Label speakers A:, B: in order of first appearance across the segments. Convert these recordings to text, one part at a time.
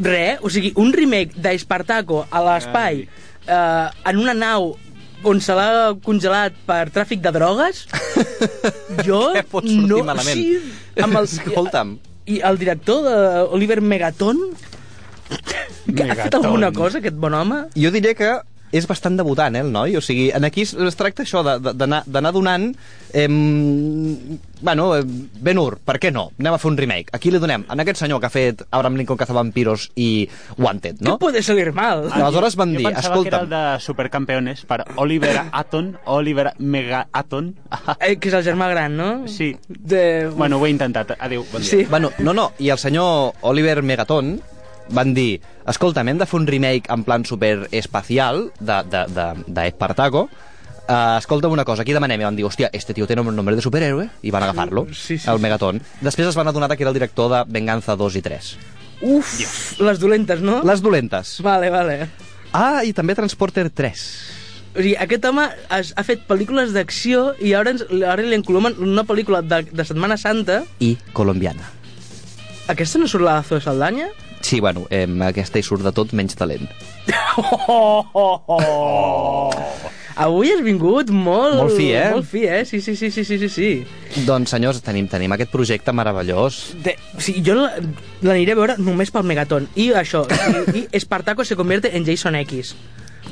A: Re, o sigui, un remake d'Espartaco a l'espai, eh, en una nau on se l'ha congelat per tràfic de drogues, jo
B: Què Eh, pot sortir
A: no...
B: malament?
A: Sí, amb els,
B: Escolta'm.
A: I el director d'Oliver Megaton, que ha fet
C: Megaton.
A: alguna cosa, aquest bon home?
B: Jo diré que és bastant debutant, eh, el noi? O sigui, en aquí es- es tracta això de- de- d'anar d'anar donant... Em, bueno, eh, Ben Hur, per què no? Anem a fer un remake. Aquí li donem? En aquest senyor que ha fet Abraham Lincoln Cazavampiros i Wanted,
A: No?
B: no?
A: Què pot ser mal?
B: Ah, Aleshores van dir,
C: jo pensava que era
B: escolta'm...
C: el de Supercampeones per Oliver Aton, Oliver Mega Aton.
A: Eh, que és el germà gran, no?
C: Sí.
A: De...
C: bueno, ho he intentat. Adéu, bon dia.
A: Sí.
B: Bueno, no, no, i el senyor Oliver Megaton van dir, escolta, hem de fer un remake en plan super espacial de, de, de, de Espartaco, Uh, escolta'm una cosa, aquí demanem i van dir, hòstia, este tio té un nombre de superhéroe i van agafar-lo,
A: Sí, sí,
B: el
A: sí.
B: Megaton després es van adonar que era el director de Venganza 2 i 3
A: Uf, les dolentes, no?
B: les dolentes
A: Vale, vale.
B: ah, i també Transporter 3
A: O sigui, aquest home es, ha fet pel·lícules d'acció i ara, ens, ara li encolomen una pel·lícula de, de Setmana Santa.
B: i Colombiana
A: Aquesta no surt la de Zoe Saldanha?
B: sí, bueno, eh, aquesta hi surt de tot menys talent
A: Oh, oh, oh. Avui has vingut molt...
B: Molt fi, eh?
A: Molt fi, eh? Sí, sí, sí, sí, sí, sí. sí.
B: doncs senyors, tenim, tenim aquest projecte meravellós
A: De, o sigui, jo la- l'aniré a veure només pel Megaton. I això, i, i Espartaco se convierte en Jason X.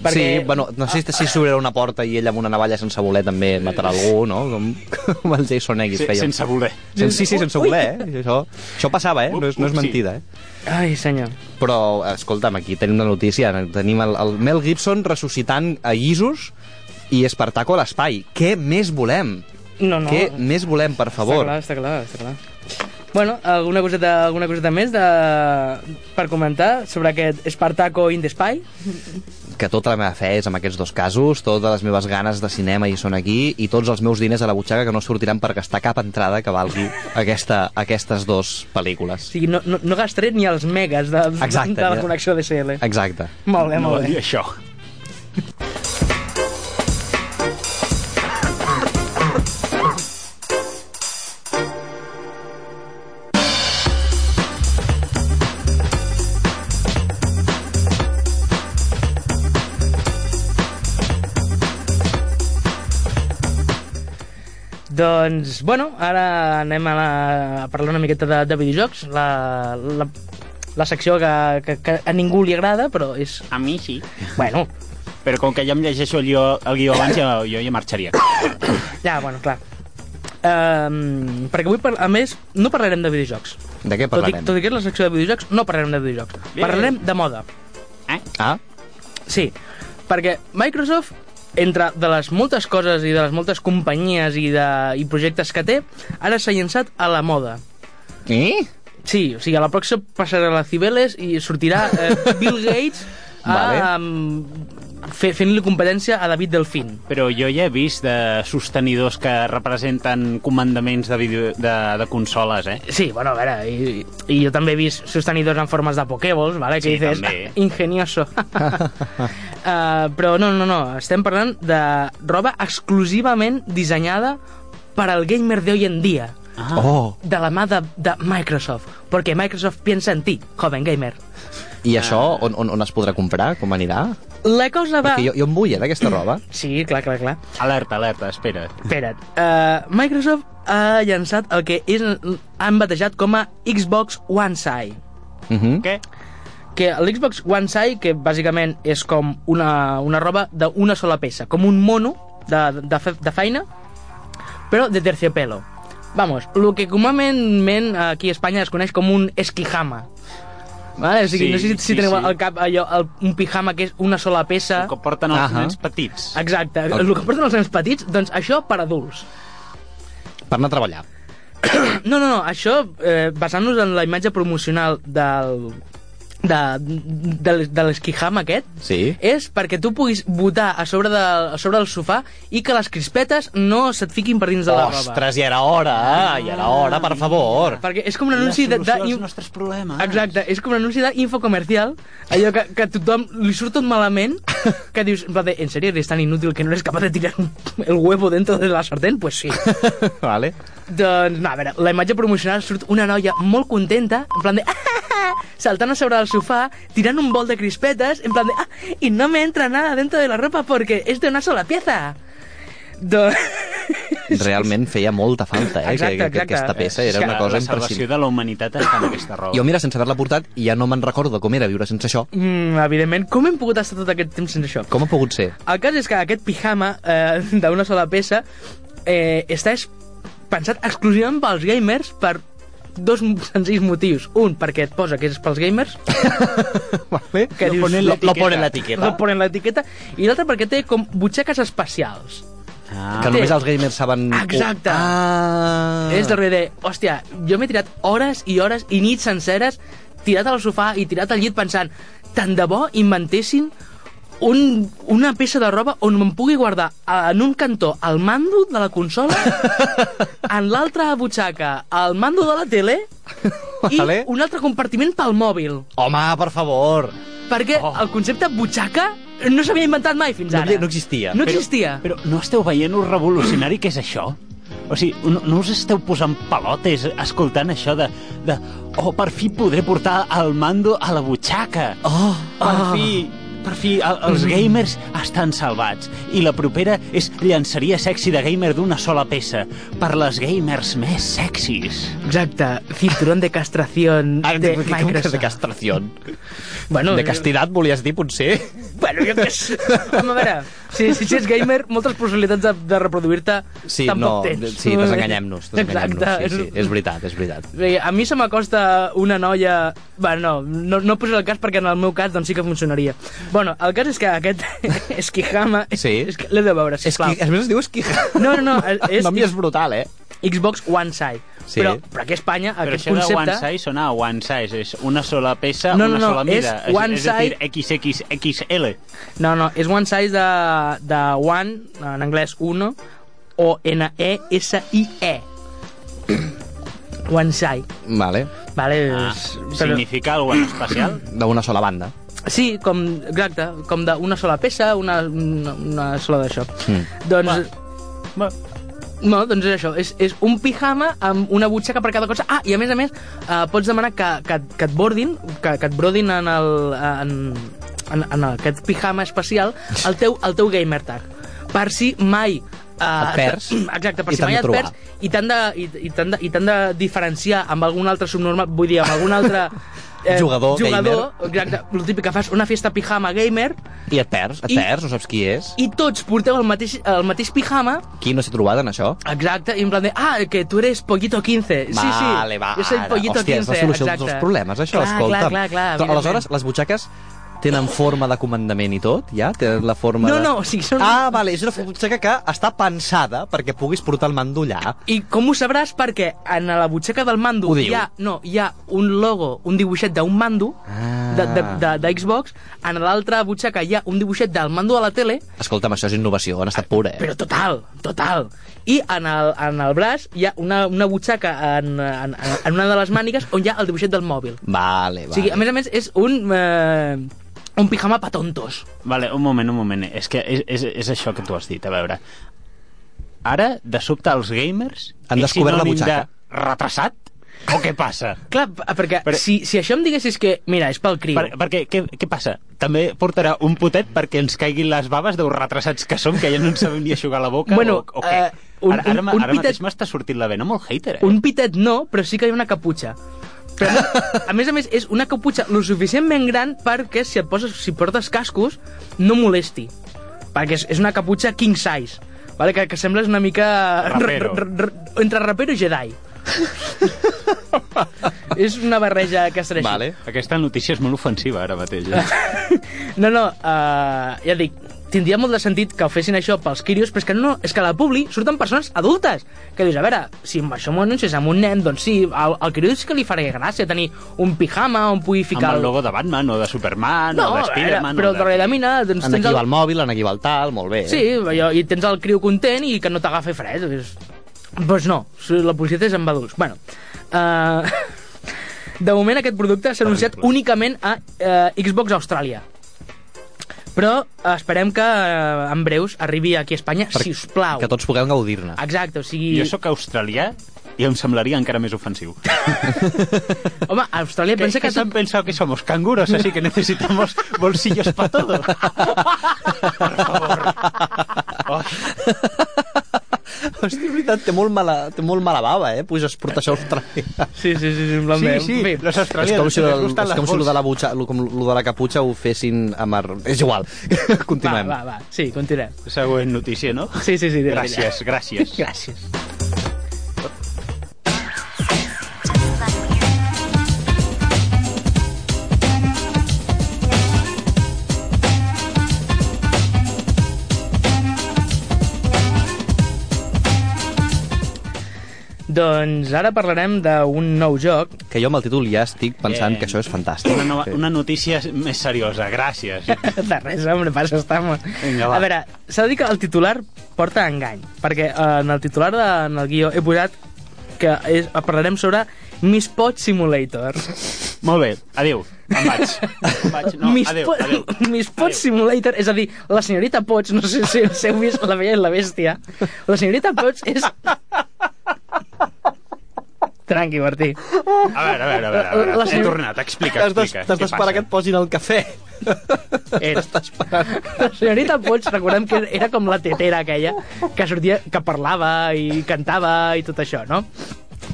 B: Perquè... Sí, bueno, no sé si s'obrirà una porta i ell amb una navalla sense voler també matarà algú, no? Com, com el Jason X
C: Sí,
B: feia.
C: sense voler.
B: Sen- Sí, sí, sense
A: Ui.
B: voler, eh? I Això, això passava, eh? No és, no és
C: Ups, sí.
B: mentida, eh?
A: Ai, senyor.
B: Però, escolta'm, aquí tenim la notícia. Tenim el, el Mel Gibson ressuscitant a Isus i Espartaco a l'espai. Què més volem?
A: No, no.
B: Què més volem, per favor?
A: Està clar, està clar, està clar. Bueno, alguna coseta, alguna coseta més de... per comentar sobre aquest Espartaco in the Spy?
B: que tota la meva fe és en aquests dos casos, totes les meves ganes de cinema hi són aquí i tots els meus diners a la butxaca que no sortiran per gastar cap entrada que valgui aquesta, aquestes dues pel·lícules.
A: O sigui, no, no, no gastaré ni els megas de,
B: Exacte,
A: de la
B: ja.
A: connexió DSL.
B: Exacte.
A: Molt bé,
C: No
A: molt
C: vol
A: bé.
C: dir això.
A: Doncs, bueno, ara anem a, la, a parlar una miqueta de, de videojocs. La, la, la secció que, que, que a ningú li agrada, però és...
C: A mi sí.
A: Bueno,
C: Però com que ja em llegeixo el guió, el guió abans, ja, jo ja marxaria.
A: ja, bueno, clar. Um, perquè avui, par- a més, no parlarem de videojocs.
B: De què
A: Tot i,
B: parlarem?
A: tot i que és la secció de videojocs, no parlarem de videojocs.
C: Bien.
A: Parlarem de moda.
C: Eh?
B: Ah,
A: Sí, perquè Microsoft, entre de les moltes coses i de les moltes companyies i, de, i projectes que té, ara s'ha llançat a la moda.
B: eh?
A: Sí, o sigui, a la pròxima passarà la Cibeles i sortirà eh, Bill Gates a,
B: Vale.
A: um, fe, fent-li competència a David Delfín.
C: Però jo ja he vist de sostenidors que representen comandaments de, vídeo, de, de consoles, eh?
A: Sí, bueno, a veure, i, i jo també he vist sostenidors en formes de pokéballs, ¿vale? que
C: Sí,
A: dices, "Ah,
C: també.
A: ingenioso. uh, però no, no, no, estem parlant de roba exclusivament dissenyada per al gamer de hoy en día,
C: Ah.
B: Oh!
A: de la mà de, de Microsoft, perquè Microsoft piensa en ti, joven gamer.
B: I això on, on, on es podrà comprar? Com anirà?
A: La cosa Ah. va...
B: Perquè jo, jo em vull, eh, d'aquesta roba.
A: Sí, clar, clar, clar.
C: Alerta, alerta, espera.
A: Espera't. Uh, Microsoft ha llançat el que és, han batejat com a Xbox One Side. Mm.
B: Uh -huh.
C: Què?
A: que l'Xbox One Sai, que bàsicament és com una, una roba d'una sola peça, com un mono de, de, fe- de feina, però de terciopelo. Vamos, el que comúment aquí a Espanya es coneix com un esquijama. Vale? O sigui,
C: Sí,
A: no sé si, si
C: sí,
A: teniu
C: sí.
A: al cap allò, el, un pijama que és una sola peça.
C: Que porten els
B: Ajà.
C: nens petits.
A: Exacte, el que porten els nens petits, doncs això per adults.
B: Per anar a treballar.
A: No, no, no, això, eh, basant-nos en la imatge promocional del, de, de, de l'esquijama aquest,
B: Sí.
A: és perquè tu puguis votar a sobre, de, a sobre del sofà i que les crispetes no se't fiquin per dins de la roba.
B: Ostres, ja era hora, eh? ja era hora, per favor.
A: Perquè és com un anunci de... de
C: als nostres problemes.
A: Exacte, és com un anunci d'infocomercial, allò que, que a tothom li surt tot malament, que dius, en plan de, en sèrio, eres tan inútil que no eres capaç de tirar el huevo dentro de la sartén? Pues sí.
B: vale.
A: doncs, no, a veure, la imatge promocional surt una noia molt contenta, en plan de... "Ah, ah, ah", saltant a sobre del sofá, tirant un bol de crispetes, en plan de, ah, y no me entra nada dentro de la ropa porque es de una sola pieza. Doncs...
B: Realment feia molta falta, eh?
A: Exacte,
B: que, que, que
A: exacte.
B: aquesta peça
C: És
B: era
C: que
B: una cosa
C: La salvació
B: imprescindible.
C: de la humanitat està en aquesta roba.
B: Jo, mira, sense haver-la portat, ja no me'n recordo com era viure sense això.
A: Mm, evidentment, com hem pogut estar tot aquest temps sense això?
B: Com ha pogut ser?
A: El cas és que aquest pijama eh, d'una sola peça eh, està es pensat exclusivament pels gamers per dos senzills motius. Un, perquè et posa que és pels gamers,
B: Vale.
A: que
C: Lo
A: dius...
C: ponen
A: "Lo-
B: Lo, lo ponen
A: Lo
B: l'etiqueta.
A: ponen l'etiqueta. I l'altre perquè té com butxaques especials.
C: Ah,
B: Que només els gamers saben...
A: Exacte.
B: Ah.
A: Ah. És darrere de... Hòstia, jo m'he tirat hores i hores i nits senceres tirat al sofà i tirat al llit pensant tant de bo inventessin un, una peça de roba on me'n pugui guardar eh, en un cantó el mando de la consola, en l'altra butxaca el mando de la tele i
B: Vale.
A: un altre compartiment pel mòbil.
B: Home, per favor.
A: Perquè oh. el concepte butxaca no s'havia inventat mai fins
B: No
A: ara.
B: havia- no existia.
A: No existia.
C: Però no esteu veient lo revolucionari que és això? O sigui, no, no us esteu posant pelotes escoltant això de, de... Oh, per fi podré portar el mando a la butxaca.
B: Oh.
C: Per fi, per fi, el, els gamers estan salvats. I la propera és llançaria sexy de gamer d'una sola peça. Per les gamers més sexis.
A: Exacte, cinturón de castración
B: Ara
A: de
B: entenc que- com que és de
A: Microsoft.
B: castració.
A: Bueno,
B: De castidat, volies dir, potser?
A: Bueno, jo què sé. Home, a veure, si, si ets gamer, moltes possibilitats de, de reproduir-te
B: Sí,
A: tampoc
B: no,
A: tens.
B: sí, desenganyem-nos. Desenganyem
A: Exacte.
B: sí, sí, és veritat, és veritat.
A: Bé, A mi se m'acosta una noia... Bueno, no, no, no posaré el cas perquè en el meu cas doncs sí que funcionaria. Bueno, el cas és que aquest Esquijama...
B: Sí.
A: És que l'he de veure,
B: És
A: sisplau.
B: que, a més es diu esquija.
A: No, no, no, és-
B: El nom ja és brutal, eh?
A: Xbox One Side.
B: Sí.
A: Però, però aquí a Espanya
C: Però
A: aquest
C: això
A: concepte...
C: de one size sona a one size. És una sola peça,
A: No, no,
C: una
A: no,
C: sola
A: és
C: mida.
A: one
C: és, és a dir, XXXL.
A: No, no, és one size de, de one, en anglès uno, o e, N-E-S-I-E. e. One size,
B: Vale.
A: vale?
C: Ah,
A: és-
C: significa alguna cosa especial?
B: D'una sola banda.
A: Sí, com, exacte, com d'una sola peça, una, una, una sola d'això.
B: Mm.
A: Doncs,
C: Bé,
A: no, doncs és això, és, és un pijama amb una butxaca per cada cosa. Ah, i a més a més, eh, pots demanar que, que, et- que et bordin, que, que et brodin en, el, en, en, en aquest pijama especial el teu, el teu gamer tag. Per si mai... Eh,
B: Et perds.
A: Exacte, per
B: I
A: si
B: t'han
A: mai
B: de
A: et
B: trobar.
A: perds i t'han de, i, i t'han de, i t'han de diferenciar amb algun altre subnormal, vull dir, amb algun altre...
B: Jugador
A: Eh, jugador Exacte, el típic que fas una fiesta pijama gamer
B: I et perds, et
A: I-
B: perds, no saps qui és.
A: i tots porteu el mateix, el mateix pijama
B: Qui no s'ha trobat en això?
A: Exacte, i en plan de, ah, que tu eres Pollito 15. Sí, sí,
B: Vale, va,
A: jo soy
B: ara.
A: Pollito 15,
B: Hòstia, és la solució
A: exacte.
B: dels problemes, això,
A: clar,
B: escolta.
A: Clar, clar, clar, evidentment.
B: aleshores, les butxaques tenen forma de comandament i tot, ja? Tenen la forma
A: No,
B: de...
A: no, o sigui, són...
B: Ah, vale, és una butxaca que està pensada perquè puguis portar el mando allà.
A: I com ho sabràs? Perquè en la butxaca del mando
B: Ho diu.
A: hi ha, no, hi ha un logo, un dibuixet d'un mando
B: Ah.
A: de, de, de, de Xbox, en l'altra butxaca hi ha un dibuixet del mando de la tele,
B: Escolta'm, això és innovació, han estat pura, eh?
A: però total, total. I en el, en el braç hi ha una, una butxaca en, en, en una de les mànigues on hi ha el dibuixet del mòbil.
B: Vale, vale.
A: O sigui, a més a més, és un... Eh, un pijama pa tontos.
C: Vale, un moment, un moment. És que és, és, és això que tu has dit, a veure. Ara, de sobte, els gamers...
B: Han
C: és
B: descobert la
C: sinònim
B: butxaca.
C: De retrasat? O què passa?
A: Clar, p- perquè
C: Però-
A: Però... si, si això em diguessis que, mira, és pel criu...
C: Per, perquè, què, què passa? També portarà un potet perquè ens caiguin les baves dels retrasats que som, que ja no ens sabem ni aixugar la boca,
A: Bueno,
C: o, o què?
A: eh, un-
C: ara, ara,
A: un-
C: ma-
A: un
C: ara mateix
A: pitet-
C: m'està sortint la vena molt hater, eh?
A: Un pitet no, però sí que hi ha una caputxa. Però, a més a més, és una caputxa lo suficientment gran perquè si et poses, si portes cascos, no molesti. Perquè és, és una caputxa king size. Vale, que, que sembles una mica...
C: Rapero.
A: r- r- r- Entre rapero i Jedi. és una barreja que serà així.
B: Vale.
C: Aquesta notícia és molt ofensiva, ara mateix. Eh?
A: No, no, uh, ja dic, tindria molt de sentit que ho fessin això pels quirios, però és que no, és que a la Publi surten persones adultes, que dius, a veure, si amb això m'ho anuncies amb un nen, doncs sí, al, al quirio sí que li faria gràcia tenir un pijama on pugui
C: Amb
A: ficar...
C: el logo de Batman, o de Superman,
A: no,
C: o de
A: a veure,
C: Spiderman...
A: però
C: o de...
A: darrere de mina, doncs
B: En
A: tens
B: aquí va el
A: el...
B: mòbil, en aquí va el tal, molt bé. eh?
A: Sí, allò, i tens el criu content i que no t'agafi fred. Doncs pues no, la publicitat és amb adults. Bueno, uh, de moment aquest producte s'ha anunciat
C: Terrible.
A: únicament a uh, Xbox Austràlia. Però eh, esperem que uh, en breus arribi aquí a Espanya, si us plau. Ah.
B: Que tots puguem gaudir-ne.
A: Exacte, o sigui...
C: Jo sóc australià i em semblaria encara més ofensiu.
A: Home, a Austràlia
C: ¿Qué,
A: pensa
C: que
A: que...
C: se han
A: Tot...
C: pensado que somos canguros, así que necesitamos bolsillos para todo. Por favor. Oh,
B: Hòstia, és veritat, té molt mala, té molt mala bava, eh? Puja a portar això a Austràlia.
A: Sí, sí, sí, sí, en plan
C: sí,
A: bé.
C: sí,
A: Bé,
C: los
B: És
C: australianos
B: com si,
C: les
B: el,
C: gustan
B: és
C: las
B: com si lo de,
C: bolsas.
B: la butxa, lo, com lo de la caputxa ho fessin amb... Ar... És igual,
A: va,
B: continuem.
A: va, va, sí, continuem.
C: Següent notícia, no?
A: Sí, sí, sí, tira, tira.
C: Gràcies, gràcies.
A: Gràcies. Doncs ara parlarem d'un nou joc.
B: Que jo amb el títol ja estic pensant
C: Eh,
B: que això és fantàstic.
C: Una, nova,
B: Que-
C: una notícia més seriosa, gràcies.
A: De res, home, passa, estamos.
C: Vinga, va.
A: A veure, s'ha de dir que el titular porta engany, perquè eh, en el titular, de, en el guió, he posat que és, parlarem sobre Mispot Simulator.
C: Molt bé, adéu, em vaig. Em vaig. No, adéu, adéu.
A: Miss Pot Simulator, és a dir, la senyorita Pots, no sé si, si heu vist La Bella i la Bèstia, la senyorita Pots és... Tranqui, Martí.
C: A veure, a veure, a veure, a
A: La- la
C: veure. he
A: senyora-
C: tornat, explica,
B: T'has d'es-
C: explica.
B: t'has
C: què
B: d'esperar
C: passa.
B: que et posin el cafè.
A: Era.
B: T'has d'esperar.
A: La senyorita Pots, recordem que era com la tetera aquella, que sortia, que parlava i cantava i tot això, no?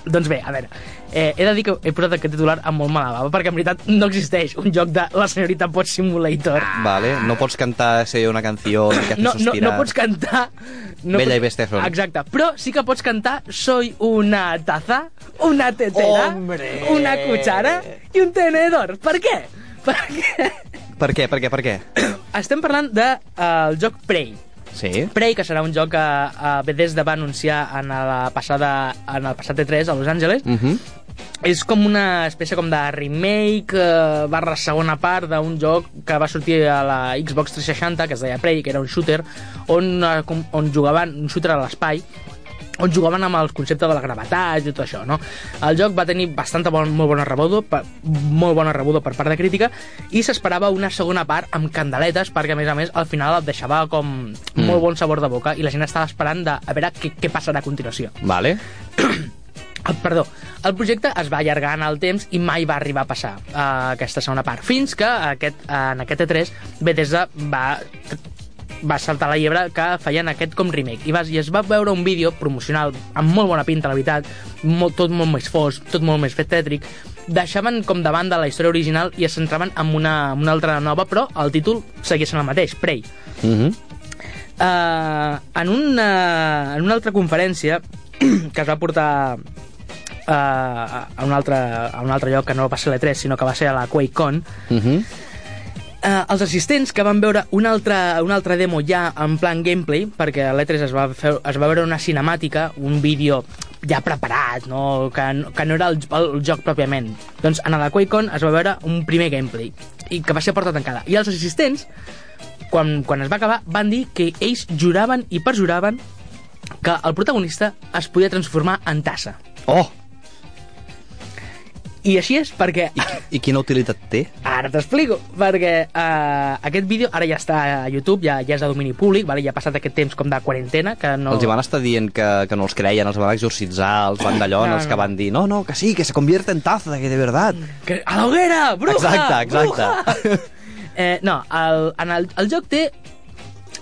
A: Doncs bé, a veure, eh, he de dir que he posat aquest titular amb molt mala bava, perquè en veritat no existeix un joc de la senyorita Pots Simulator.
B: Vale, no pots cantar si hi ha una canció que hace
A: Ah. no, no,
B: suspirar.
A: no pots cantar... No
B: Bella
A: pots-
B: i bestia son.
A: Exacte, però sí que pots cantar Soy una taza, una tetera,
B: Hombre.
A: una cuchara i un tenedor. Per què? Perquè
B: Per què, per què, per què?
A: estem parlant del de, eh, el joc Prey.
B: Sí?
A: Prey, que serà un joc que eh, Bethesda va anunciar en, la passada, en el passat E3 a Los Angeles,
B: Mhm.
A: és com una espècie com de remake eh, barra segona part d'un joc que va sortir a la Xbox 360 que es deia Prey, que era un shooter on, eh, com- on jugaven un shooter a l'espai on jugaven amb el concepte de la gravetat i tot això, no? El joc va tenir bastanta bon, molt bona rebuda, per, molt bona rebuda per part de crítica i s'esperava una segona part amb candeletes perquè, a més a més, al final et deixava com molt bon sabor de boca i la gent estava esperant de a veure què, què passarà a continuació.
B: Vale.
A: Ah, Perdó, el projecte es va allargar en el temps i mai va arribar a passar uh, aquesta segona part, fins que aquest, uh, en aquest E3 Bethesda va va saltar la llebre que feien aquest com remake i, vas, i es va veure un vídeo promocional amb molt bona pinta, la veritat molt, tot molt més fosc, tot molt més tètric deixaven com de banda la història original i es centraven en una, en una altra nova però el títol seguia sent el mateix, Prey
B: Mhm.
A: eh, en, una, en una altra conferència que es va portar eh, a, un altre, a un altre lloc que no va ser a l'E3 sinó que va ser a la QuakeCon
B: Mhm.
A: eh, els assistents que van veure una altra, una altra demo ja en plan gameplay, perquè a l'E3 es, va fer, es va veure una cinemàtica, un vídeo ja preparat, no? Que, no- que no era el, el joc pròpiament. Doncs en la QuakeCon es va veure un primer gameplay, i que va ser a porta tancada. I els assistents, quan, quan es va acabar, van dir que ells juraven i perjuraven que el protagonista es podia transformar en tassa.
B: Oh,
A: I així és perquè...
B: i quina utilitat té?
A: Ara t'explico, perquè uh, aquest vídeo ara ja està a YouTube, ja, ja és de domini públic, vale? ja ha passat aquest temps com de quarantena, que no...
B: Els hi van estar dient que, que no els creien, els van exorcitzar, els van d'allò,
A: No,
B: no, els que
A: no.
B: van dir no, no, que sí, que se convierte en taza, que de verdad.
A: Que, a la hoguera, bruja!
B: Exacte, exacte.
A: Bruja! Eh, no, el, en el, el joc té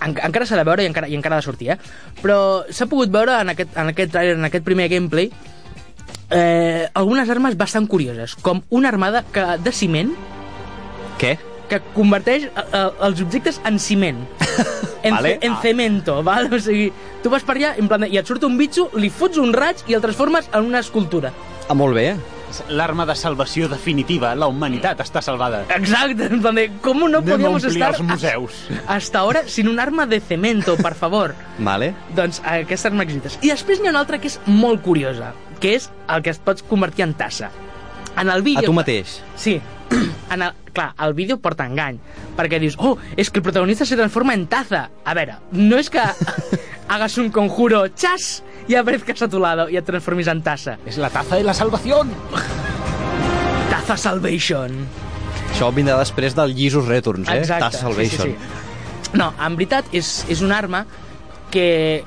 A: en, encara s'ha de veure i encara, i encara ha de sortir, eh? Però s'ha pogut veure en aquest, en aquest trailer, en aquest primer gameplay, eh, algunes armes bastant curioses, com una armada que, de ciment
B: Què?
A: que converteix eh, eh, els objectes en ciment. En,
B: Vale.
A: ce-
C: Ah.
A: en cemento, val? O sigui, tu vas per allà en plan, de- i et surt un bitxo, li fots un raig i el transformes en una escultura.
B: Ah, molt bé.
C: L'arma de salvació definitiva, la humanitat està salvada.
A: Exacte, en plan de, com no
C: Anem a
A: podíamos
C: omplir
A: estar
C: els museus.
A: a- hasta ahora sin un arma de cemento, per favor.
B: Vale.
A: doncs aquestes armes exitoses. I després n'hi ha una altra que és molt curiosa, que és el que es pots convertir en tassa. En el
B: A
A: vídeo...
B: tu mateix.
A: Sí. En el, clar, el vídeo porta engany, perquè dius, oh, és que el protagonista se transforma en taza. A veure, no és que hagas un conjuro, chas, y aparezcas a tu lado y et transformis en taza.
C: És la taza de la salvació.
A: Taza Salvation.
B: Això vindrà després del Jesus Returns, eh?
A: Exacte.
B: Taza Salvation.
A: Sí, sí, sí. No, en veritat, és, és una arma que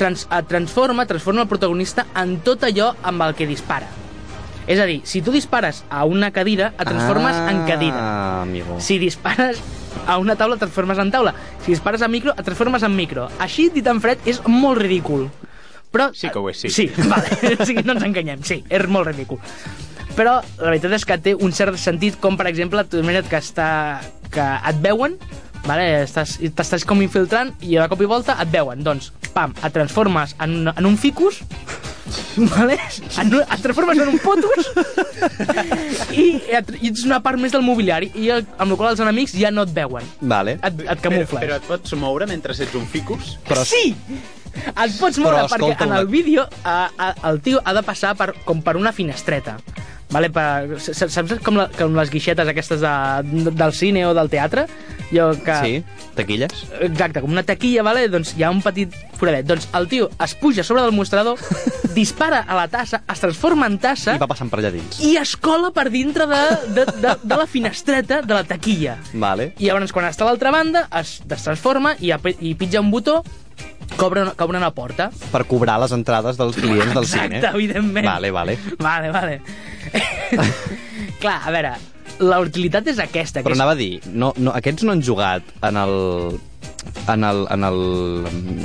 A: trans, et transforma, transforma el protagonista en tot allò amb el que dispara. És a dir, si tu dispares a una cadira, et transformes
B: ah,
A: en cadira.
B: Amigo.
A: Si dispares a una taula, et transformes en taula. Si dispares a micro, et transformes en micro. Així, dit en fred, és molt ridícul. Però,
D: Sí que ho és, sí.
A: Sí, vale. sí no ens enganyem, sí, és molt ridícul. Però la veritat és que té un cert sentit, com per exemple, tu imagina't que, està, que et veuen, vale? estàs, t'estàs com infiltrant i de cop i volta et veuen. Doncs, pam, et transformes en, un- en un ficus, vale? en, un- et transformes en un potus i, et, i ets una part més del mobiliari i el, amb la qual cosa els enemics ja no et veuen.
B: Vale.
A: Et, et camufles.
D: Però, però et pots moure mentre ets un ficus?
B: Però,
A: Sí! Et pots moure
B: Però
A: perquè
B: escolta
A: en
B: una-
A: el vídeo a, a, el tio ha de passar per, com per una finestreta. Vale, per, s- s- saps com, la, com les guixetes aquestes de, del cine o del teatre? Jo que...
B: Sí, taquilles.
A: Exacte, com una taquilla, vale? doncs hi ha un petit foradet. Doncs el tio es puja a sobre del mostrador, dispara a la tassa, es transforma en tassa
B: I va passant per allà dins.
A: i es cola per dintre de, de, de, de la finestreta de la taquilla.
B: Vale.
A: I llavors, quan està a l'altra banda, es, es transforma i, ape- i pitja un botó, cobra una, cobra una porta.
B: Per cobrar les entrades dels clients del cine.
A: Exacte, evidentment.
B: Vale, vale.
A: Vale, vale. Clar, a veure, la utilitat és aquesta.
B: Però
A: que és...
B: anava a dir, no, no, aquests no han jugat en el en el, en el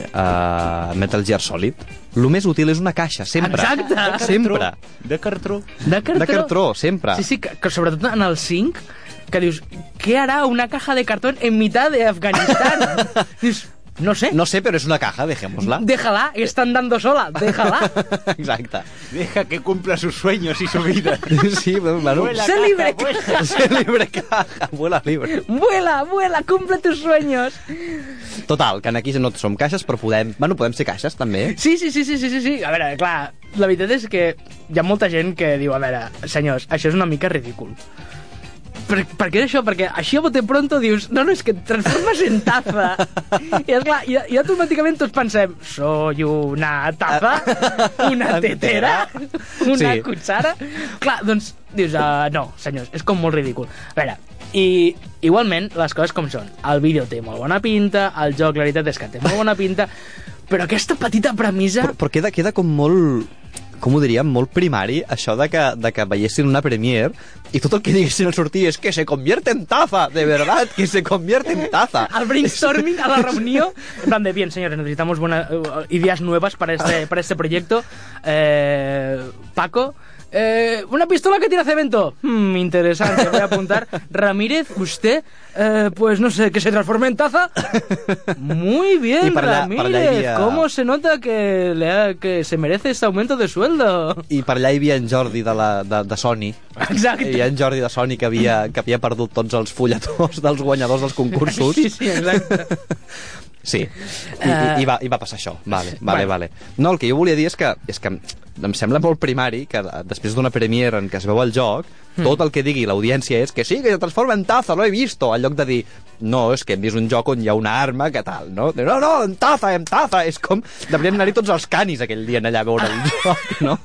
B: uh, Metal Gear Solid. Lo més útil és una caixa, sempre.
A: Exacte.
B: Sempre.
C: De cartró.
A: De cartró.
B: De cartró, sempre.
A: Sí, sí, que, que sobretot en el 5, que dius, què harà una caja de cartó en mitad de Afganistán? dius, no sé.
B: No sé, però és una caja, dejémosla.
A: Déjala, está andando sola, déjala.
B: Exacte.
D: Deja que cumpla sus sueños y su vida.
B: Sí, bueno,
D: Vuela,
A: Sé
D: caja,
A: libre.
D: vuela.
B: ser libre caja, vuela libre.
A: Vuela, vuela, cumple tus sueños.
B: Total, que aquí no som caixes, però podem... Bueno, podem ser caixes, també.
A: Sí, sí, sí, sí, sí, sí, sí. A veure, clar, la veritat és que hi ha molta gent que diu, a veure, senyors, això és una mica ridícul. Per, per què és això? Perquè així a bote pronto dius, no, no, és que et transformes en taza. I és clar, i, i automàticament tots pensem, soy una taza, una tetera, una
B: Sí.
A: sí. cuchara... Clar, doncs dius, uh, no, senyors, és com molt ridícul. A veure, i igualment les coses com són. El vídeo té molt bona pinta, el joc, la veritat és que té molt bona pinta, però aquesta petita premissa...
B: Però, però queda, queda com molt com ho diríem, molt primari, això de que, de que veiessin una premiere i tot el que diguessin al sortir és que se convierte en taza, de verdad, que se convierte en taza.
A: al brainstorming, a la reunión. En plan de, bien, señores, necesitamos buenas ideas nuevas para este, para este proyecto. Eh, Paco. eh, una pistola que tira cemento. Hmm, interesante, voy a apuntar. Ramírez, usted, eh, pues no sé, que se transforme en taza. Muy bien,
B: Y para allá- para
A: Ramírez.
B: allá iría-
A: ¿Cómo se nota que, le ha- que se merece este aumento de sueldo?
B: I per allà hi havia en Jordi de, la, de, de Sony.
A: Exacto.
B: Hi havia en Jordi de Sony que havia, que havia perdut tots els fulletons dels guanyadors dels concursos.
A: Sí, sí, exacto.
B: Sí, I, i, i, va, i va passar això. Vale, vale,
A: Bueno.
B: vale. No, el que jo volia dir és que, és que em sembla molt primari que eh, després d'una premiere en què es veu el joc,
A: Hmm.
B: tot el que digui l'audiència és que sí, que se transforma en taza, lo he visto, en lloc de dir no, és que hem vist un joc on hi ha una arma, que tal, no? No, no, en taza, en taza, és com... Devríem anar-hi tots els canis aquell dia en allà a veure el joc, no?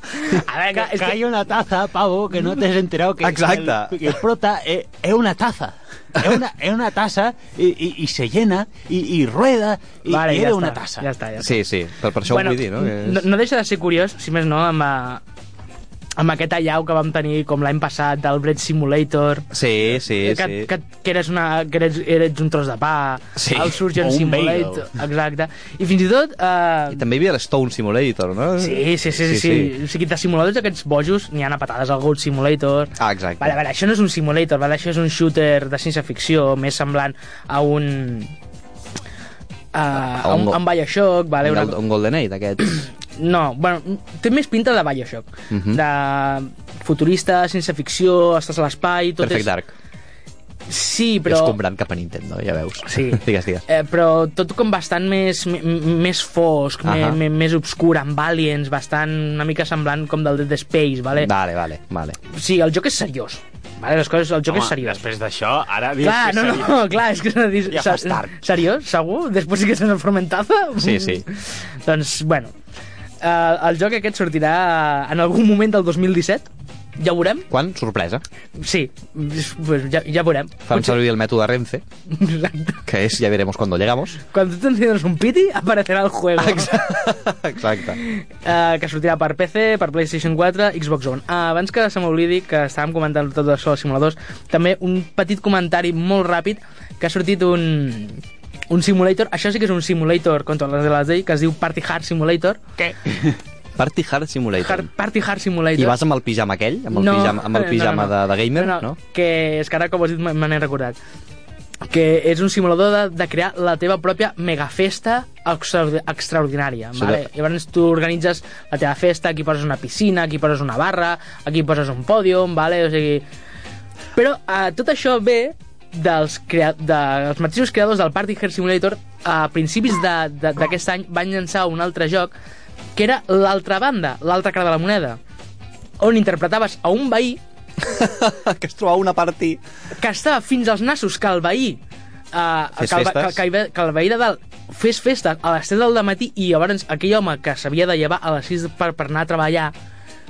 A: A ver,
C: Que,
A: es
C: que
A: que-
C: hay una taza, pavo, que no te has enterado que
B: Exacte.
C: el, que el prota es, es una taza. Es una, es una taza y, y- y se llena y, y rueda y,
A: Vale,
C: y
A: ya
C: era
A: está,
C: una taza.
A: Ya está, ya está.
B: Sí, sí, per, per això ho vull dir, no? Que és-
A: no, no deixa de ser curiós, si més no, amb, a, amb aquest allau que vam tenir com l'any passat del Bread Simulator,
B: Sí, sí,
A: que,
B: sí.
A: que, que, eres, una, que eres, eres un tros de pa,
B: Sí,
A: el Surgeon
C: o un
A: Simulator, exacte. I fins i tot...
B: I
A: Eh,
B: també hi havia l'Stone Simulator, no?
A: sí, sí, sí, sí, sí, sí. O sigui, de simuladors aquests bojos n'hi ha a patades al Gold Simulator.
B: Ah, exacte.
A: Vale, vale, això no és un simulator, vale? això és un shooter de ciència-ficció, més semblant a un... A, a,
B: un
A: un,
B: go-
A: a un Bioshock, vale?
B: Un, un Golden Age, d'aquests.
A: No, bueno, té més pinta de Bioshock. Uh
B: Mhm.
A: -huh. De futurista, sense ficció, estàs a l'espai, tot
B: Perfect
A: és...
B: Dark.
A: Sí,
B: però...
A: però...
B: Ets comprant cap a Nintendo, ja veus.
A: Sí.
B: digues, digues.
A: Eh, però tot com bastant més, m- m- més fosc,
B: Ahà.
A: uh -huh. més obscur, amb aliens, bastant una mica semblant com del Dead Space, vale?
B: Vale, vale, vale.
A: Sí, el joc és seriós. Vale, les coses, el joc és seriós.
D: després d'això, ara dius
A: Clar,
D: que
A: no,
D: seria-
A: no, clar, és que s'ha de dir...
D: Ja
A: se-
D: fas tard.
A: Seriós? Segur? Després sí que se'n Mm. fermentaza?
B: Sí, sí.
A: doncs, bueno, eh, el joc aquest sortirà en algun moment del 2017, Ja ho veurem?
B: Quan? Sorpresa.
A: Sí, pues ja, ja veurem.
B: Fan servir el mètode Renfe,
A: Exacte.
B: que és ya veremos cuando llegamos.
A: Cuando tú te enciendas un piti, aparecerá el juego.
B: Exacte.
A: Uh, que sortirà per PC, per PlayStation 4, Xbox One. Uh, abans que se m'oblidi, que estàvem comentant tot això dels simuladors, també un petit comentari molt ràpid, que ha sortit un, un simulator, això sí que és un simulator contra les de les d'ell, que es diu Party Hard Simulator. Què?
B: Party Hard Simulator.
A: Hard, Party Hard Simulator.
B: I vas amb el pijama aquell? Amb el pijama, amb el pijama De, de gamer?
A: no, no, Que és que ara com ho has dit me me n'he recordat. Que és un simulador de, de crear la teva pròpia megafesta extraordi- extraordinària.
B: Sí,
A: vale?
B: de-
A: Llavors tu organitzes la teva festa, aquí poses una piscina, aquí poses una barra, aquí poses un pòdium, vale? o sigui... Però eh, tot això ve dels, crea dels mateixos creadors del Party Hard Simulator a principis de- de- d'aquest any van llançar un altre joc que era l'altra banda, l'altra cara de la moneda on interpretaves a un veí
B: que es trobava una party...
A: que estava fins als nassos que el veí eh, que,
B: Fes
A: el, ve- que,
B: festes.
A: el- que, el ve- que el veí de dalt fes festa a les 3 del matí i llavors aquell home que s'havia de llevar a les 6 per, per anar a treballar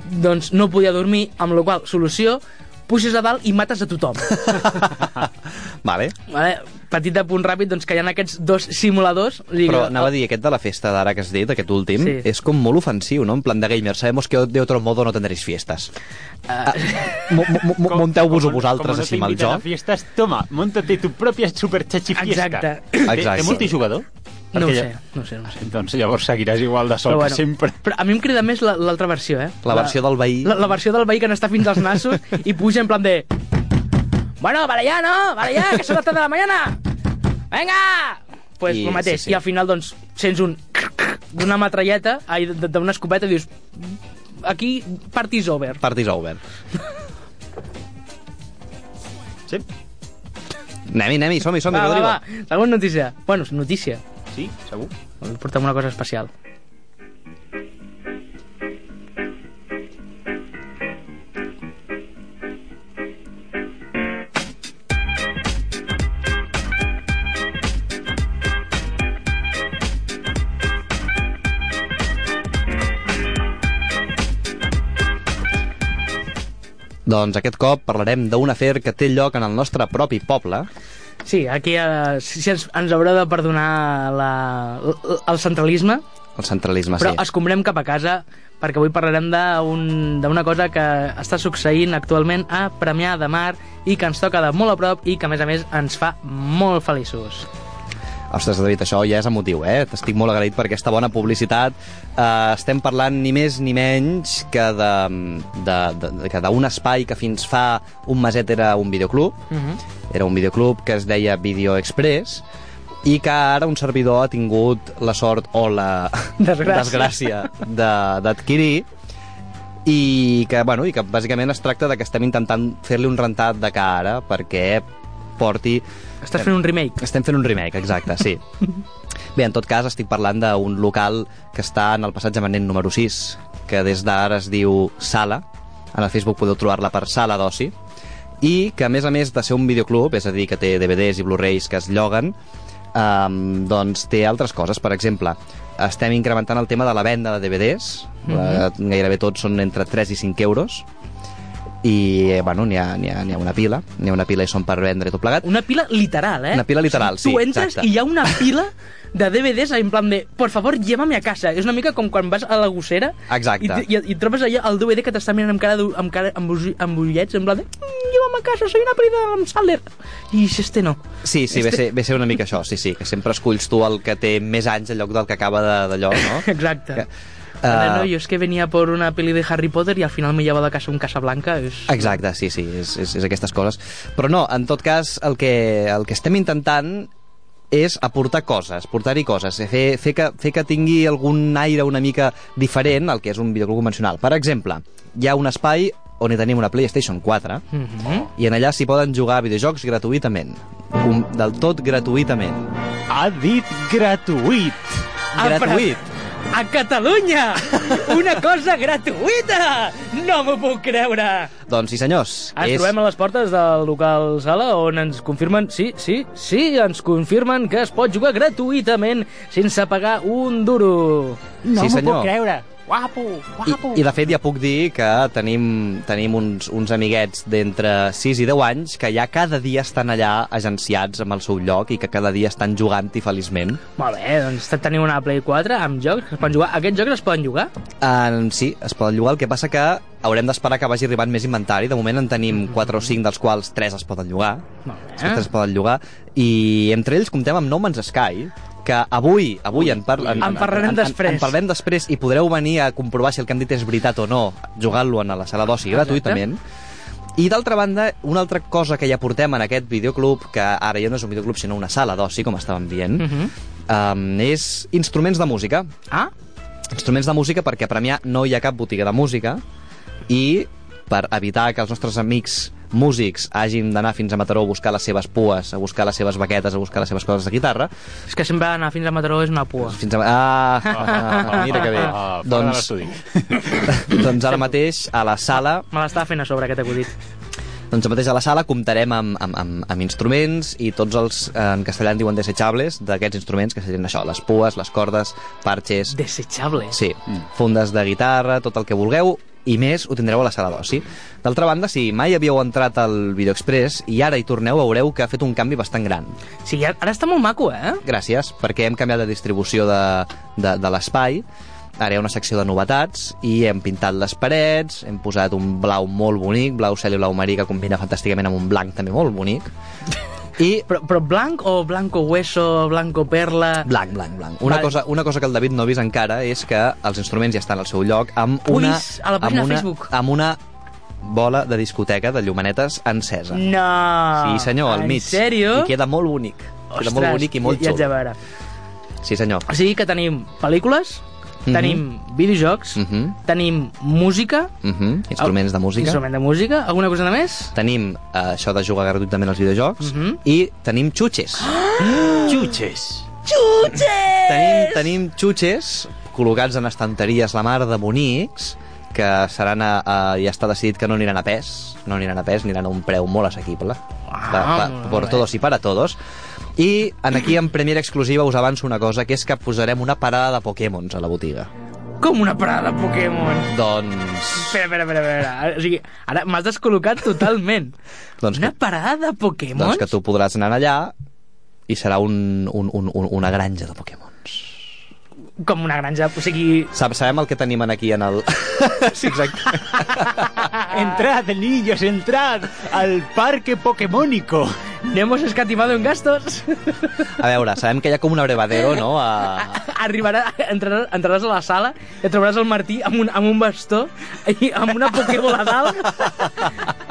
A: doncs no podia dormir, amb la qual cosa, solució puges a dalt i mates a tothom
B: Vale.
A: vale? petit de punt ràpid doncs que hi ha aquests dos simuladors eh, o sigui,
B: Però anava a dir, aquest de la festa d'ara que has dit, aquest últim, sí.
A: Sí.
B: és com molt ofensiu, no? En plan de gamer, sabemos que de otro modo no tendréis fiestas. Ah, mo- mo- mo- Monteu-vos-ho vosaltres així amb el
C: Com no
B: joc.
C: t'inviten a fiestes, toma, montate tu pròpia superxachi fiesta.
A: Exacte.
C: Té,
B: Exacte.
C: té multijugador?
A: no ho
C: Perquè ja-
A: sé, no ho sé, no ho sé.
D: Doncs llavors seguiràs igual de sol
A: Però
D: que
A: bueno.
D: sempre.
A: Però a mi em crida més la- l'altra versió, eh?
B: La versió del veí.
A: La, la versió del veí que n'està fins als nassos i puja en plan de... Bueno, para allá, ¿no? Para allá, que son las 3 de la mañana. Venga! Pues
B: I-
A: I, el mateix. Sí, sí.
B: sí, sí.
A: I al final, doncs, sents un... d'una matralleta, ai, d- d'una escopeta, i dius... Aquí, party's over.
B: Party's over.
D: Sí?
B: Anem-hi, anem-hi, som-hi, som-hi,
A: va,
B: Rodrigo.
A: va, va. Alguna notícia? Bueno, és notícia.
D: Sí? Segur?
A: Us Portem una cosa especial.
B: Doncs aquest cop parlarem d'un afer que té lloc en el nostre propi poble.
A: Sí, aquí eh, si si ens, ens haurà de perdonar la, l- el centralisme,
B: El centralisme,
A: Però
B: Ah, sí.
A: escombrem cap a casa perquè avui parlarem d'un- d'una cosa que està succeint actualment a Premià de Mar i que ens toca de molt a prop i que, a més a més, ens fa molt feliços.
B: Ostres, David, això ja és emotiu, eh? T'estic molt agraït per aquesta bona publicitat. Uh, estem parlant ni més ni menys que de- de- de- que d'un espai que fins fa un meset era un videoclub,
A: Uh -huh.
B: era un videoclub que es deia Video Express i que ara un servidor ha tingut la sort o la
A: Desgràcia.
B: desgràcia de- d'adquirir i que, bueno, i que bàsicament es tracta de que estem intentant fer-li un rentat de cara perquè porti
A: Estàs fent un remake.
B: estem fent un remake, exacte, sí. Bé, en tot cas, estic parlant d'un local que està en el passatge Manent número 6, que des d'ara es diu Sala. En el Facebook podeu trobar-la per Sala d'Oci. I que, a més a més de ser un videoclub, és a dir, que té DVDs i Blu-rays que es lloguen, um, doncs té altres coses. Per exemple, estem incrementant el tema de la venda de DVDs. Mm -hmm. Gairebé tots són entre 3 i 5 euros. I, eh, bueno, n'hi ha, n'hi ha, n'hi ha una pila. N'hi ha una pila i són per vendre i tot plegat.
A: Una pila literal, eh?
B: Una pila
A: O
B: literal,
A: sigui,
B: sí,
A: Tu entres
B: exacte.
A: i hi ha una pila de DVDs en plan de por favor, llévame a casa. És una mica com quan vas a la gossera
B: Exacte.
A: i, t- i, i et trobes allà el DVD que t'està mirant amb cara, d'u- amb, cara amb, us- amb ullets, en plan de "Mm, llévame a casa, soy una peli de Adam Sandler. I si este no.
B: Sí, sí, ve a ser, ve a ser una mica això, sí, sí, que sempre esculls tu el que té més anys en lloc del que acaba de- d'allò, no?
A: Exacte.
B: Que-
A: Ara, no,
B: eh,
A: yo es que venía por una peli de Harry Potter y al final me he llevado a casa un Casablanca. Es...
B: Exacte, sí, sí, és, és, és aquestes coses. Però no, en tot cas, el que, el que estem intentant és aportar coses, portar-hi coses, eh, fer, fer, que, fer que tingui algun aire una mica diferent al que és un videoclub convencional. Per exemple, hi ha un espai on hi tenim una PlayStation 4
A: Mm -hmm.
B: i en allà s'hi poden jugar a videojocs gratuïtament, un, del tot gratuïtament.
C: Ha dit gratuït.
B: Gratuït!
A: A Catalunya! Una cosa gratuïta! No m'ho puc creure!
B: Doncs sí, senyors.
A: Ah, Ens trobem a les portes del local sala on ens confirmen, sí, sí, sí, ens confirmen que es pot jugar gratuïtament sense pagar un duro.
B: No Sí, m'ho puc senyor.
C: creure.
D: Guapo,
B: I, I de fet ja puc dir que tenim, tenim uns, uns amiguets d'entre 6 i 10 anys que ja cada dia estan allà agenciats amb el seu lloc i que cada dia estan jugant-hi feliçment.
A: Molt bé, doncs te- teniu una Play 4 amb jocs que es poden jugar. Aquests jocs es poden jugar?
B: Um, sí, es poden llogar, el que passa que haurem d'esperar que vagi arribant més inventari. De moment en tenim 4 o 5, dels quals 3 es poden llogar.
A: Molt
B: Els
A: bé.
B: altres es poden llogar. I entre ells comptem amb No Man's Sky, que avui, avui en, parlen,
A: En parlarem després.
B: En, en parlem després i podreu venir a comprovar si el que hem dit és veritat o no, jugant-lo en la sala d'oci gratuïtament. I d'altra banda, una altra cosa que ja portem en aquest videoclub, que ara ja no és un videoclub sinó una sala d'oci, com estàvem dient,
A: Uh -huh.
B: um, és instruments de música
A: Ah,
B: instruments de música perquè a Premià no hi ha cap botiga de música i per evitar que els nostres amics músics hagin d'anar fins a Mataró a buscar les seves pues, a buscar les seves baquetes, a buscar les seves coses de guitarra,
A: és que sempre anar fins a Mataró és una pua.
B: fins a... Ah, ah mira que bé.
D: Ah, fora de
B: doncs,
D: l'estudi.
B: doncs ara mateix a la sala
A: Me l'estava fent a sobre, aquest acudit.
B: Doncs mateix a la sala comptarem amb, amb, amb, amb instruments i tots els, eh, en castellà en diuen desechables, d'aquests instruments que serien això, les pues, les cordes, parxes,
A: Desechable.
B: Sí, fundes de guitarra, tot el que vulgueu, i més ho tindreu a la sala d'oci. D'altra banda, si mai havíeu entrat al Video Express i ara hi torneu, veureu que ha fet un canvi bastant gran.
A: Sí, ara ara està molt maco, eh?
B: Gràcies, perquè hem canviat de distribució de, de, de l'espai, ara hi ha una secció de novetats i hem pintat les parets, hem posat un blau molt bonic, blau cel i blau marí, que combina fantàsticament amb un blanc també molt bonic, i
A: Però, però blanc o blanco hueso, blanco perla...
B: Blanc, blanc, blanc. Una,
A: Vale.
B: cosa, una cosa que el David no ha vist encara és que els instruments ja estan al seu lloc amb
A: Ho he
B: una...
A: vist a la pàgina
B: amb una,
A: Facebook.
B: Amb una bola de discoteca de llumanetes encesa.
A: No!
B: sí, senyor, al
A: en
B: mig.
A: serio?
B: I queda molt bonic. queda molt bonic i molt
A: ja, ja haig de
B: xulo.
A: veure.
B: Sí, senyor.
A: O sigui que tenim pel·lícules,
B: Mhm.
A: tenim videojocs,
B: Mhm.
A: tenim música,
B: Uh -huh. Instruments de música.
A: instrument de música, alguna cosa de més?
B: Tenim eh, això de jugar gratuïtament als videojocs.
A: Mhm. Ah!
B: I tenim xutxes.
C: Xutxes.
B: Tenim, tenim xutxes col·locats en estanteries la mar de bonics que seran a, a, ja està decidit que no aniran a pes, no aniran a pes, aniran a un preu molt assequible.
A: Ah, molt
B: per
A: bé.
B: todos i para todos. I en aquí, en primera exclusiva, us avanço una cosa, que és que posarem una parada de Pokémons a la botiga.
A: Com una parada de Pokémon.
B: Doncs...
A: Espera, espera, espera, espera. O sigui, ara m'has descol·locat totalment.
B: Doncs
A: una
B: que-
A: parada de Pokémon?
B: Doncs que tu podràs anar allà i serà un, un, un, un, una granja de Pokémons.
A: Com una granja, o sigui...
B: Sab, sabem el que tenim en aquí en el... sí, exacte.
C: Ah, Entrad, niños, entrad al parque pokémonico.
A: No hemos escatimado en gastos.
B: A veure, sabem que hi ha com un abrevadero, no?, a,
A: Arribarà, entraràs, entraràs a la sala i et trobaràs el Martí amb un, amb un bastó i amb una Pokébola a dalt.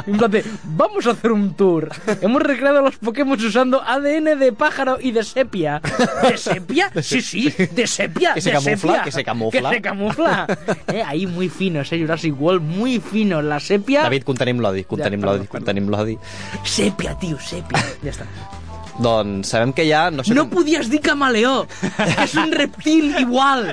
A: I en plan de, vamos a hacer un tour. Hemos recreado los Pokémon usando ADN de pájaro y de sepia. ¿De sepia? Sí, sí, de sepia.
B: Que se
A: de
B: camufla,
A: sepia.
B: que se camufla.
A: Que se camufla. Eh, ahí muy fino, ese Jurassic World, muy fino. La sepia...
B: David, contenim l'odi, contenim
A: Ja, perdó,
B: l'odi, contenim l'odi.
A: Sepia, tío, sepia. Ya está.
B: Doncs sabem que hi ha... No sé
A: No
B: com...
A: podías decir camaleón. que Es un reptil igual.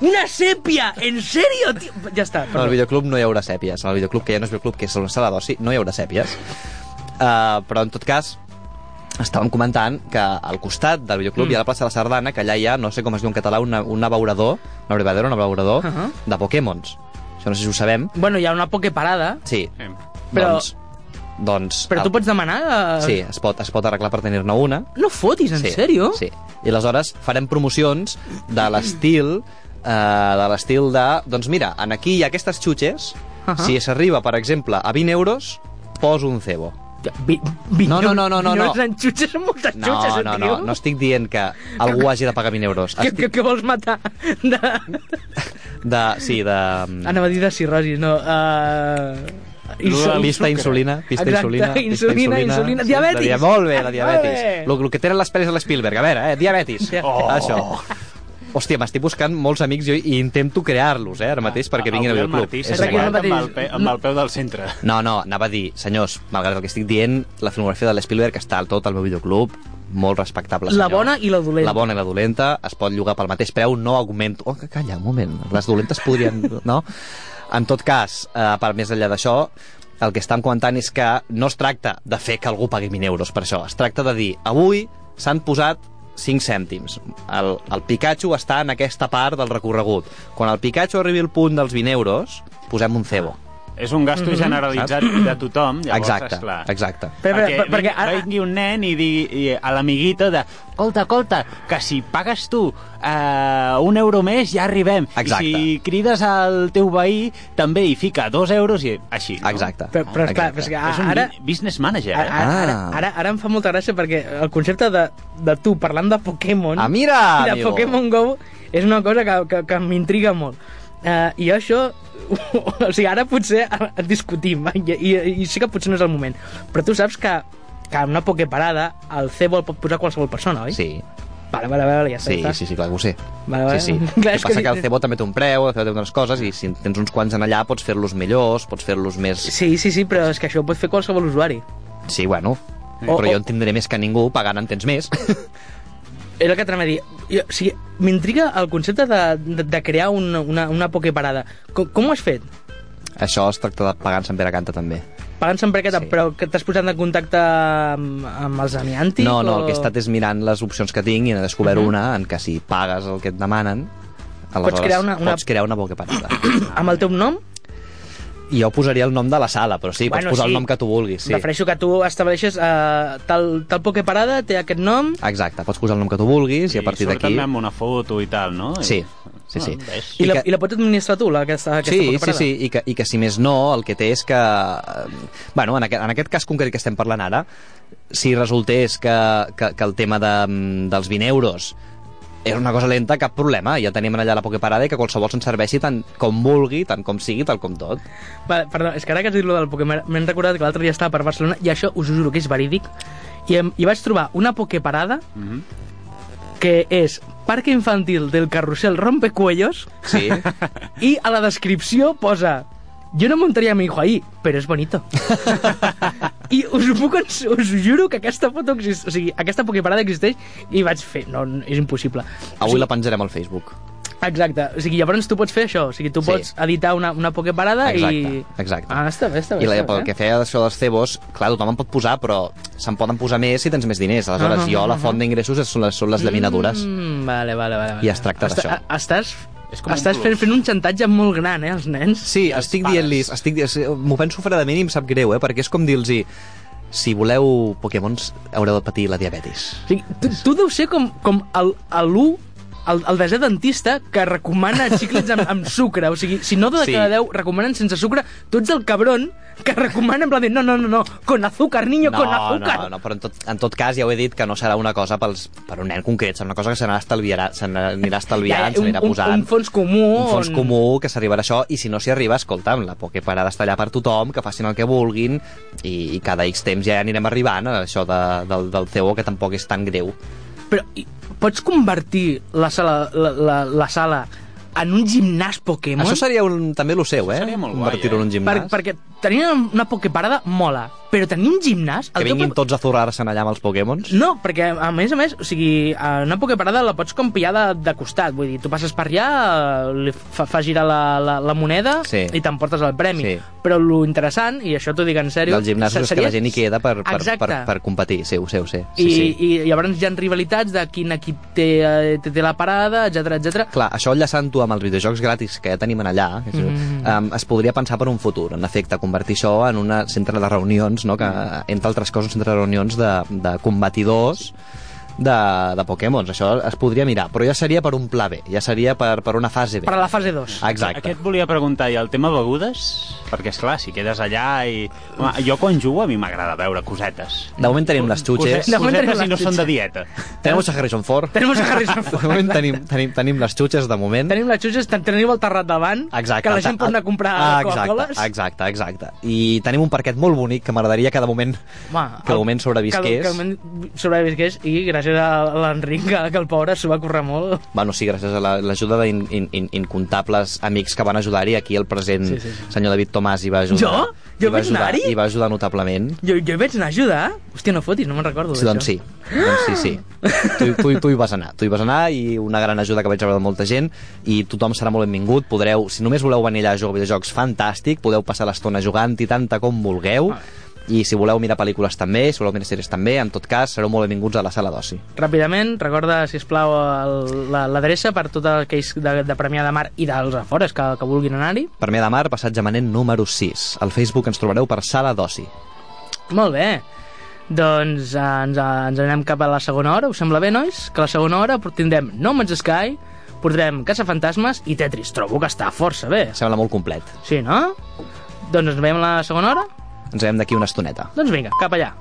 A: Una sepia. ¿En serio, tío? Ya está.
B: En el
A: perdón.
B: videoclub no hi haurà sèpies. En el videoclub, que ja no és videoclub, que és una sala d'oci, no hi haurà sèpies. Uh, però, en tot cas, estàvem comentant que al costat del videoclub mm. hi ha la plaça de la Sardana, que allà hi ha, no sé com es diu en català, una, un abeurador, un abrevadero, un abeurador, uh
A: Ahà.
B: -huh. de Pokémons. Això no sé si ho sabem.
A: Bueno, hi ha una pokeparada,
B: Sí.
A: Però-
B: Doncs... Doncs...
A: però
B: el-
A: tu pots demanar... eh,
B: Sí, es pot, es pot arreglar per tenir-ne una.
A: No fotis, en
B: sí,
A: serio?
B: Sí. I aleshores farem promocions de l'estil eh, de l'estil de... Doncs mira, en aquí hi ha aquestes xutxes, uh
A: Ahà.
B: -huh. si s'arriba, per exemple, a 20 euros, poso un cebo.
A: Vi, vi,
B: No, no, no, no, no.
A: No, en xutxes, són moltes
B: No,
A: xutxes, eh,
B: no,
A: tio.
B: no, no estic dient que algú hagi de pagar 20 euros.
A: Que,
B: Estic
A: que, que vols matar? De...
B: de, sí,
A: Ah,
B: de...
A: Anava a dir de cirrosis, no. Uh...
B: Insul, pista insulina, pista
A: Exacte,
B: insulina, pista
A: insulina, insulina,
B: sí,
A: diabetis.
B: La, dia- molt bé, la
A: Molt bé.
B: diabetis. El que tenen les peres a l'Spielberg, a veure, eh, diabetis.
A: Oh.
B: Això. Hòstia, m'estic buscant molts amics jo i intento crear-los, eh, ara mateix, perquè vinguin al
C: Avui el
B: videoclub.
C: Martí
B: És
C: s'ha
A: Serra
B: igual.
A: que
C: jugat
A: no
C: amb, el
A: pateix.
C: pe, amb el peu del centre.
B: No, no, anava a dir, senyors, malgrat el que estic dient, la filmografia de l'Spielberg està al tot al meu videoclub, molt respectable,
A: La
B: senyor.
A: bona i la dolenta.
B: La bona i la dolenta, es pot llogar pel mateix preu, no augmento... Oh, calla, un moment, les dolentes podrien... No? En tot cas, eh, per més enllà d'això, el que estàvem comentant és que no es tracta de fer que algú pagui 1.000 euros per això, es tracta de dir, avui s'han posat 5 cèntims. El, el Pikachu està en aquesta part del recorregut. Quan el Pikachu arribi al punt dels 20 euros, posem un cebo.
D: És un gasto
A: Mm-hmm.
D: generalitzat de tothom,
A: Ah,
D: llavors,
B: exacte,
D: esclar.
B: exacte.
A: Però,
D: perquè,
A: però, perquè
D: ara...
A: ara-
D: vingui un nen i digui i a l'amiguito de colta, colta, que si pagues tu eh, un euro més ja arribem.
B: Exacte.
D: I si crides al teu veí també hi fica dos euros i així. No?
B: Exacte.
A: Però, però esclar,
B: Ah, exacte.
A: però és que
D: És un
A: ara,
D: bu- business manager,
A: ara,
D: eh?
A: ara, ara,
B: Ah.
A: ara, ara em fa molta gràcia perquè el concepte de, de tu parlant de Pokémon...
B: Ah, mira,
A: I de
B: amigo.
A: Pokémon GO és una cosa que, que, que m'intriga molt. Uh, I jo això... o sigui, ara potser eh, discutim, eh, i, i, i sí que potser no és el moment. Però tu saps que, que en una Poképarada el cebo el pot posar qualsevol persona, oi?
B: Sí,
A: Vale, vale, vale, ja està.
B: sí,
A: ja està.
B: sí, sí, clar que ho sé.
A: Vale, vale.
B: Sí, sí.
A: Ah, Clar,
B: Clar,
A: és
B: que passa
A: que-
B: que, el cebo també té un preu, el cebo té unes coses, i si en tens uns quants en allà pots fer-los millors, pots fer-los més...
A: Sí, sí, sí, però és que això ho pot fer qualsevol usuari.
B: Sí, bueno,
A: O-
B: però
A: o-
B: jo en tindré més que ningú, pagant en tens més.
A: És el que t'anava a dir. Jo, o sigui, m'intriga el concepte de, de, de crear un, una, una pokeparada. Com, com ho has fet?
B: Això es tracta de pagar en Sant Pere Canta, també.
A: Pagant sempre aquest,
B: Sí.
A: sí. però que t'has posat en contacte amb, amb els amiàntics?
B: No,
A: o...
B: no, el que he estat és mirant les opcions que tinc i n'he descobert una en què si pagues el que et demanen, aleshores
A: crear una- una-
B: pots crear una boca parada.
A: Amb el teu nom?
B: I jo posaria el nom de la sala, però sí, pots posar el nom que tu vulguis.
A: Sí.
B: Sí.
A: Refereixo que tu estableixes eh, tal, tal pokeparada, té aquest nom...
B: Exacte, pots posar el nom que tu vulguis i, a partir
D: surt
B: d'aquí...
D: també amb una foto i tal, no? I-
B: Sí, sí, sí.
D: Ah, ves.
A: I,
B: I
A: la,
B: que-
A: I la pots administrar tu, la, aquesta, aquesta
B: Sí, sí,
A: pokeparada?
B: sí, i que, i que si més no, el que té és que... eh, Bueno, en aquest, en aquest cas concret que estem parlant ara, si resultés que, que, que el tema de, mm, dels 20 euros és una cosa lenta, cap problema. Ja tenim allà la Poképarada i que qualsevol se'n serveixi tant com vulgui, tant com sigui, tal com tot.
A: Vale, perdó, és que ara que has dit lo del Pokémon, m'he recordat que l'altre dia estava per Barcelona i això us ho juro que és verídic. I, em, i vaig trobar una Poképarada mm
B: Mhm.
A: -hmm. que és Parque Infantil del Carrusel Rompecuellos
B: Sí,
A: i a la descripció posa Yo no montaría a mi hijo ahí, pero es bonito. I us ho puc, ens- us ho juro que aquesta foto existeix, o sigui, aquesta Poképarada existeix i vaig fer, no, no és impossible. O
B: avui
A: sigui,
B: la penjarem al Facebook.
A: Exacte, o sigui, llavors tu pots fer això, o sigui, tu
B: Sí.
A: pots editar una, una Poképarada i...
B: Exacte, exacte.
A: Ah, està bé, està bé.
B: I la,
A: està bé,
B: pel que feia d'això dels cebos, clar, tothom en pot posar, però se'n poden posar més si tens més diners. Aleshores,
A: Ah,
B: jo, la
A: ah,
B: font d'ingressos és- són les, són les llaminadures.
A: Mm, vale, vale, vale, vale.
B: I es tracta d'això.
A: a- Estàs,
D: És com un
A: estàs fent,
D: plus.
A: fent un xantatge molt gran, eh, els nens?
B: Sí, estic dient-los, estic dient- m'ho penso fredament i em sap greu, eh, perquè és com dir-los si voleu Pokémons haureu de patir la diabetis.
A: O sigui, tu, tu deus ser com, com el, el u el, el desè dentista que recomana xiclets amb, amb sucre. O sigui, si no de
B: Sí.
A: cada 10 recomanen sense sucre, tu ets el cabron que recomana en plan de no, no, no, no, con azúcar, niño,
B: No,
A: con
B: no,
A: azúcar.
B: no, no, però en tot, en tot cas ja ho he dit que no serà una cosa pels, per un nen concret, serà una cosa que se n'anirà se n'anirà estalviant,
A: Ja, eh,
B: se n'anirà
A: un- un-
B: posant.
A: un fons comú
B: Un fons
A: on-
B: comú que s'arribarà a això, i si no s'hi arriba, escolta'm, la Poképarada està allà per tothom, que facin el que vulguin, i, i cada X temps ja anirem arribant a això de, del, del CEO, que tampoc és tan greu.
A: Però i- pots convertir la sala, la, la, la sala en un gimnàs Pokémon?
B: Això seria un, també lo seu, eh?
D: seria molt guai,
B: Convertir-ho en un
A: Per,
B: gimnàs.
A: perquè tenir una Poképarada mola, però tenir un gimnàs... el teu
B: Que vinguin
A: propi-
B: tots a zurrar-se'n allà amb els Pokémons?
A: No, perquè a més a més, o sigui, a una Poképarada la pots com pillar de, de costat, vull dir, tu passes per allà, eh, li fa, fa girar la, la, la moneda
B: Sí.
A: i t'emportes el premi.
B: Sí.
A: Però lo interessant, i això t'ho dic en sèrio...
B: Del gimnàs és que la gent hi queda per, per,
A: Exacte.
B: per, per competir, sí, ho sé, ho sé.
A: I,
B: Sí, sí.
A: I llavors hi ha rivalitats de quin equip té, eh, té, té la parada, etc etc.
B: Clar, això enllaçant-ho amb els videojocs gratis que ja tenim en allà, mm
A: Mhm.
B: -hmm. um, es podria pensar per un futur, en efecte, convertir això en un centre de reunions, no? que, entre altres coses, un centre de reunions de, de combatidors de, de Pokémons. Això es podria mirar, però ja seria per un pla B, ja seria per, per una fase B.
A: Per a la fase 2.
B: Exacte.
D: Aquest volia preguntar, i el tema begudes? Perquè, és clar, si quedes allà i... Home, jo quan jugo a mi m'agrada beure cosetes.
B: De moment tenim les xutxes,
A: De moment tenim
D: cosetes
A: les
D: i no són
A: xutxes.
D: de dieta.
B: tenim a Harrison Ford,
A: Tenemos a Harrison
B: de
A: Ford.
B: moment tenim, tenim, tenim les xutxes, de moment.
A: Tenim les xutxes, ten- teniu el terrat davant,
B: Exacte.
A: que la gent pot anar a comprar
B: Ah,
A: Coca-Coles.
B: Exacte, exacte, exacte. I tenim un parquet molt bonic que m'agradaria que de moment,
A: Home,
B: que de
A: el-
B: moment
A: Que,
B: sobrevisqués.
A: que de moment sobrevisqués i gràcies a l'Enric, que, que el pobre s'ho va currar molt.
B: Bueno, sí, gràcies a la- l'ajuda la, d'incomptables amics que van ajudar-hi. Aquí el present
A: Sí, sí, sí.
B: senyor David Tomàs hi va ajudar.
A: Jo? Jo
B: Hi va
A: vaig
B: ajudar,
A: anar-hi?
B: hi va ajudar notablement.
A: Jo, jo hi vaig anar a ajudar. Hòstia, no fotis, no me'n recordo
B: Sí, doncs sí, doncs sí, sí. Tu, tu, tu hi vas anar, tu hi vas anar i una gran ajuda que vaig rebre de molta gent i tothom serà molt benvingut, podreu, si només voleu venir allà a jugar a videojocs, fantàstic, podeu passar l'estona jugant i tanta com vulgueu, i si voleu mirar pel·lícules també, si voleu mirar sèries també, en tot cas, sereu molt benvinguts a la sala d'oci.
A: Ràpidament, recorda, si plau l'adreça per tots aquells de, de Premià de Mar i dels afores que, que vulguin anar-hi.
B: Per Mia de Mar, passatge manent número 6. Al Facebook ens trobareu per sala d'oci.
A: Molt bé. Doncs eh, ens, eh, ens anem cap a la segona hora, us sembla bé, nois? Que a la segona hora tindrem No Man's Sky, portarem Caçafantasmes i Tetris. Trobo que està força bé.
B: Sembla molt complet.
A: Sí, no? Doncs ens veiem a la segona hora?
B: Ens veiem d'aquí una estoneta.
A: Doncs vinga, cap allà.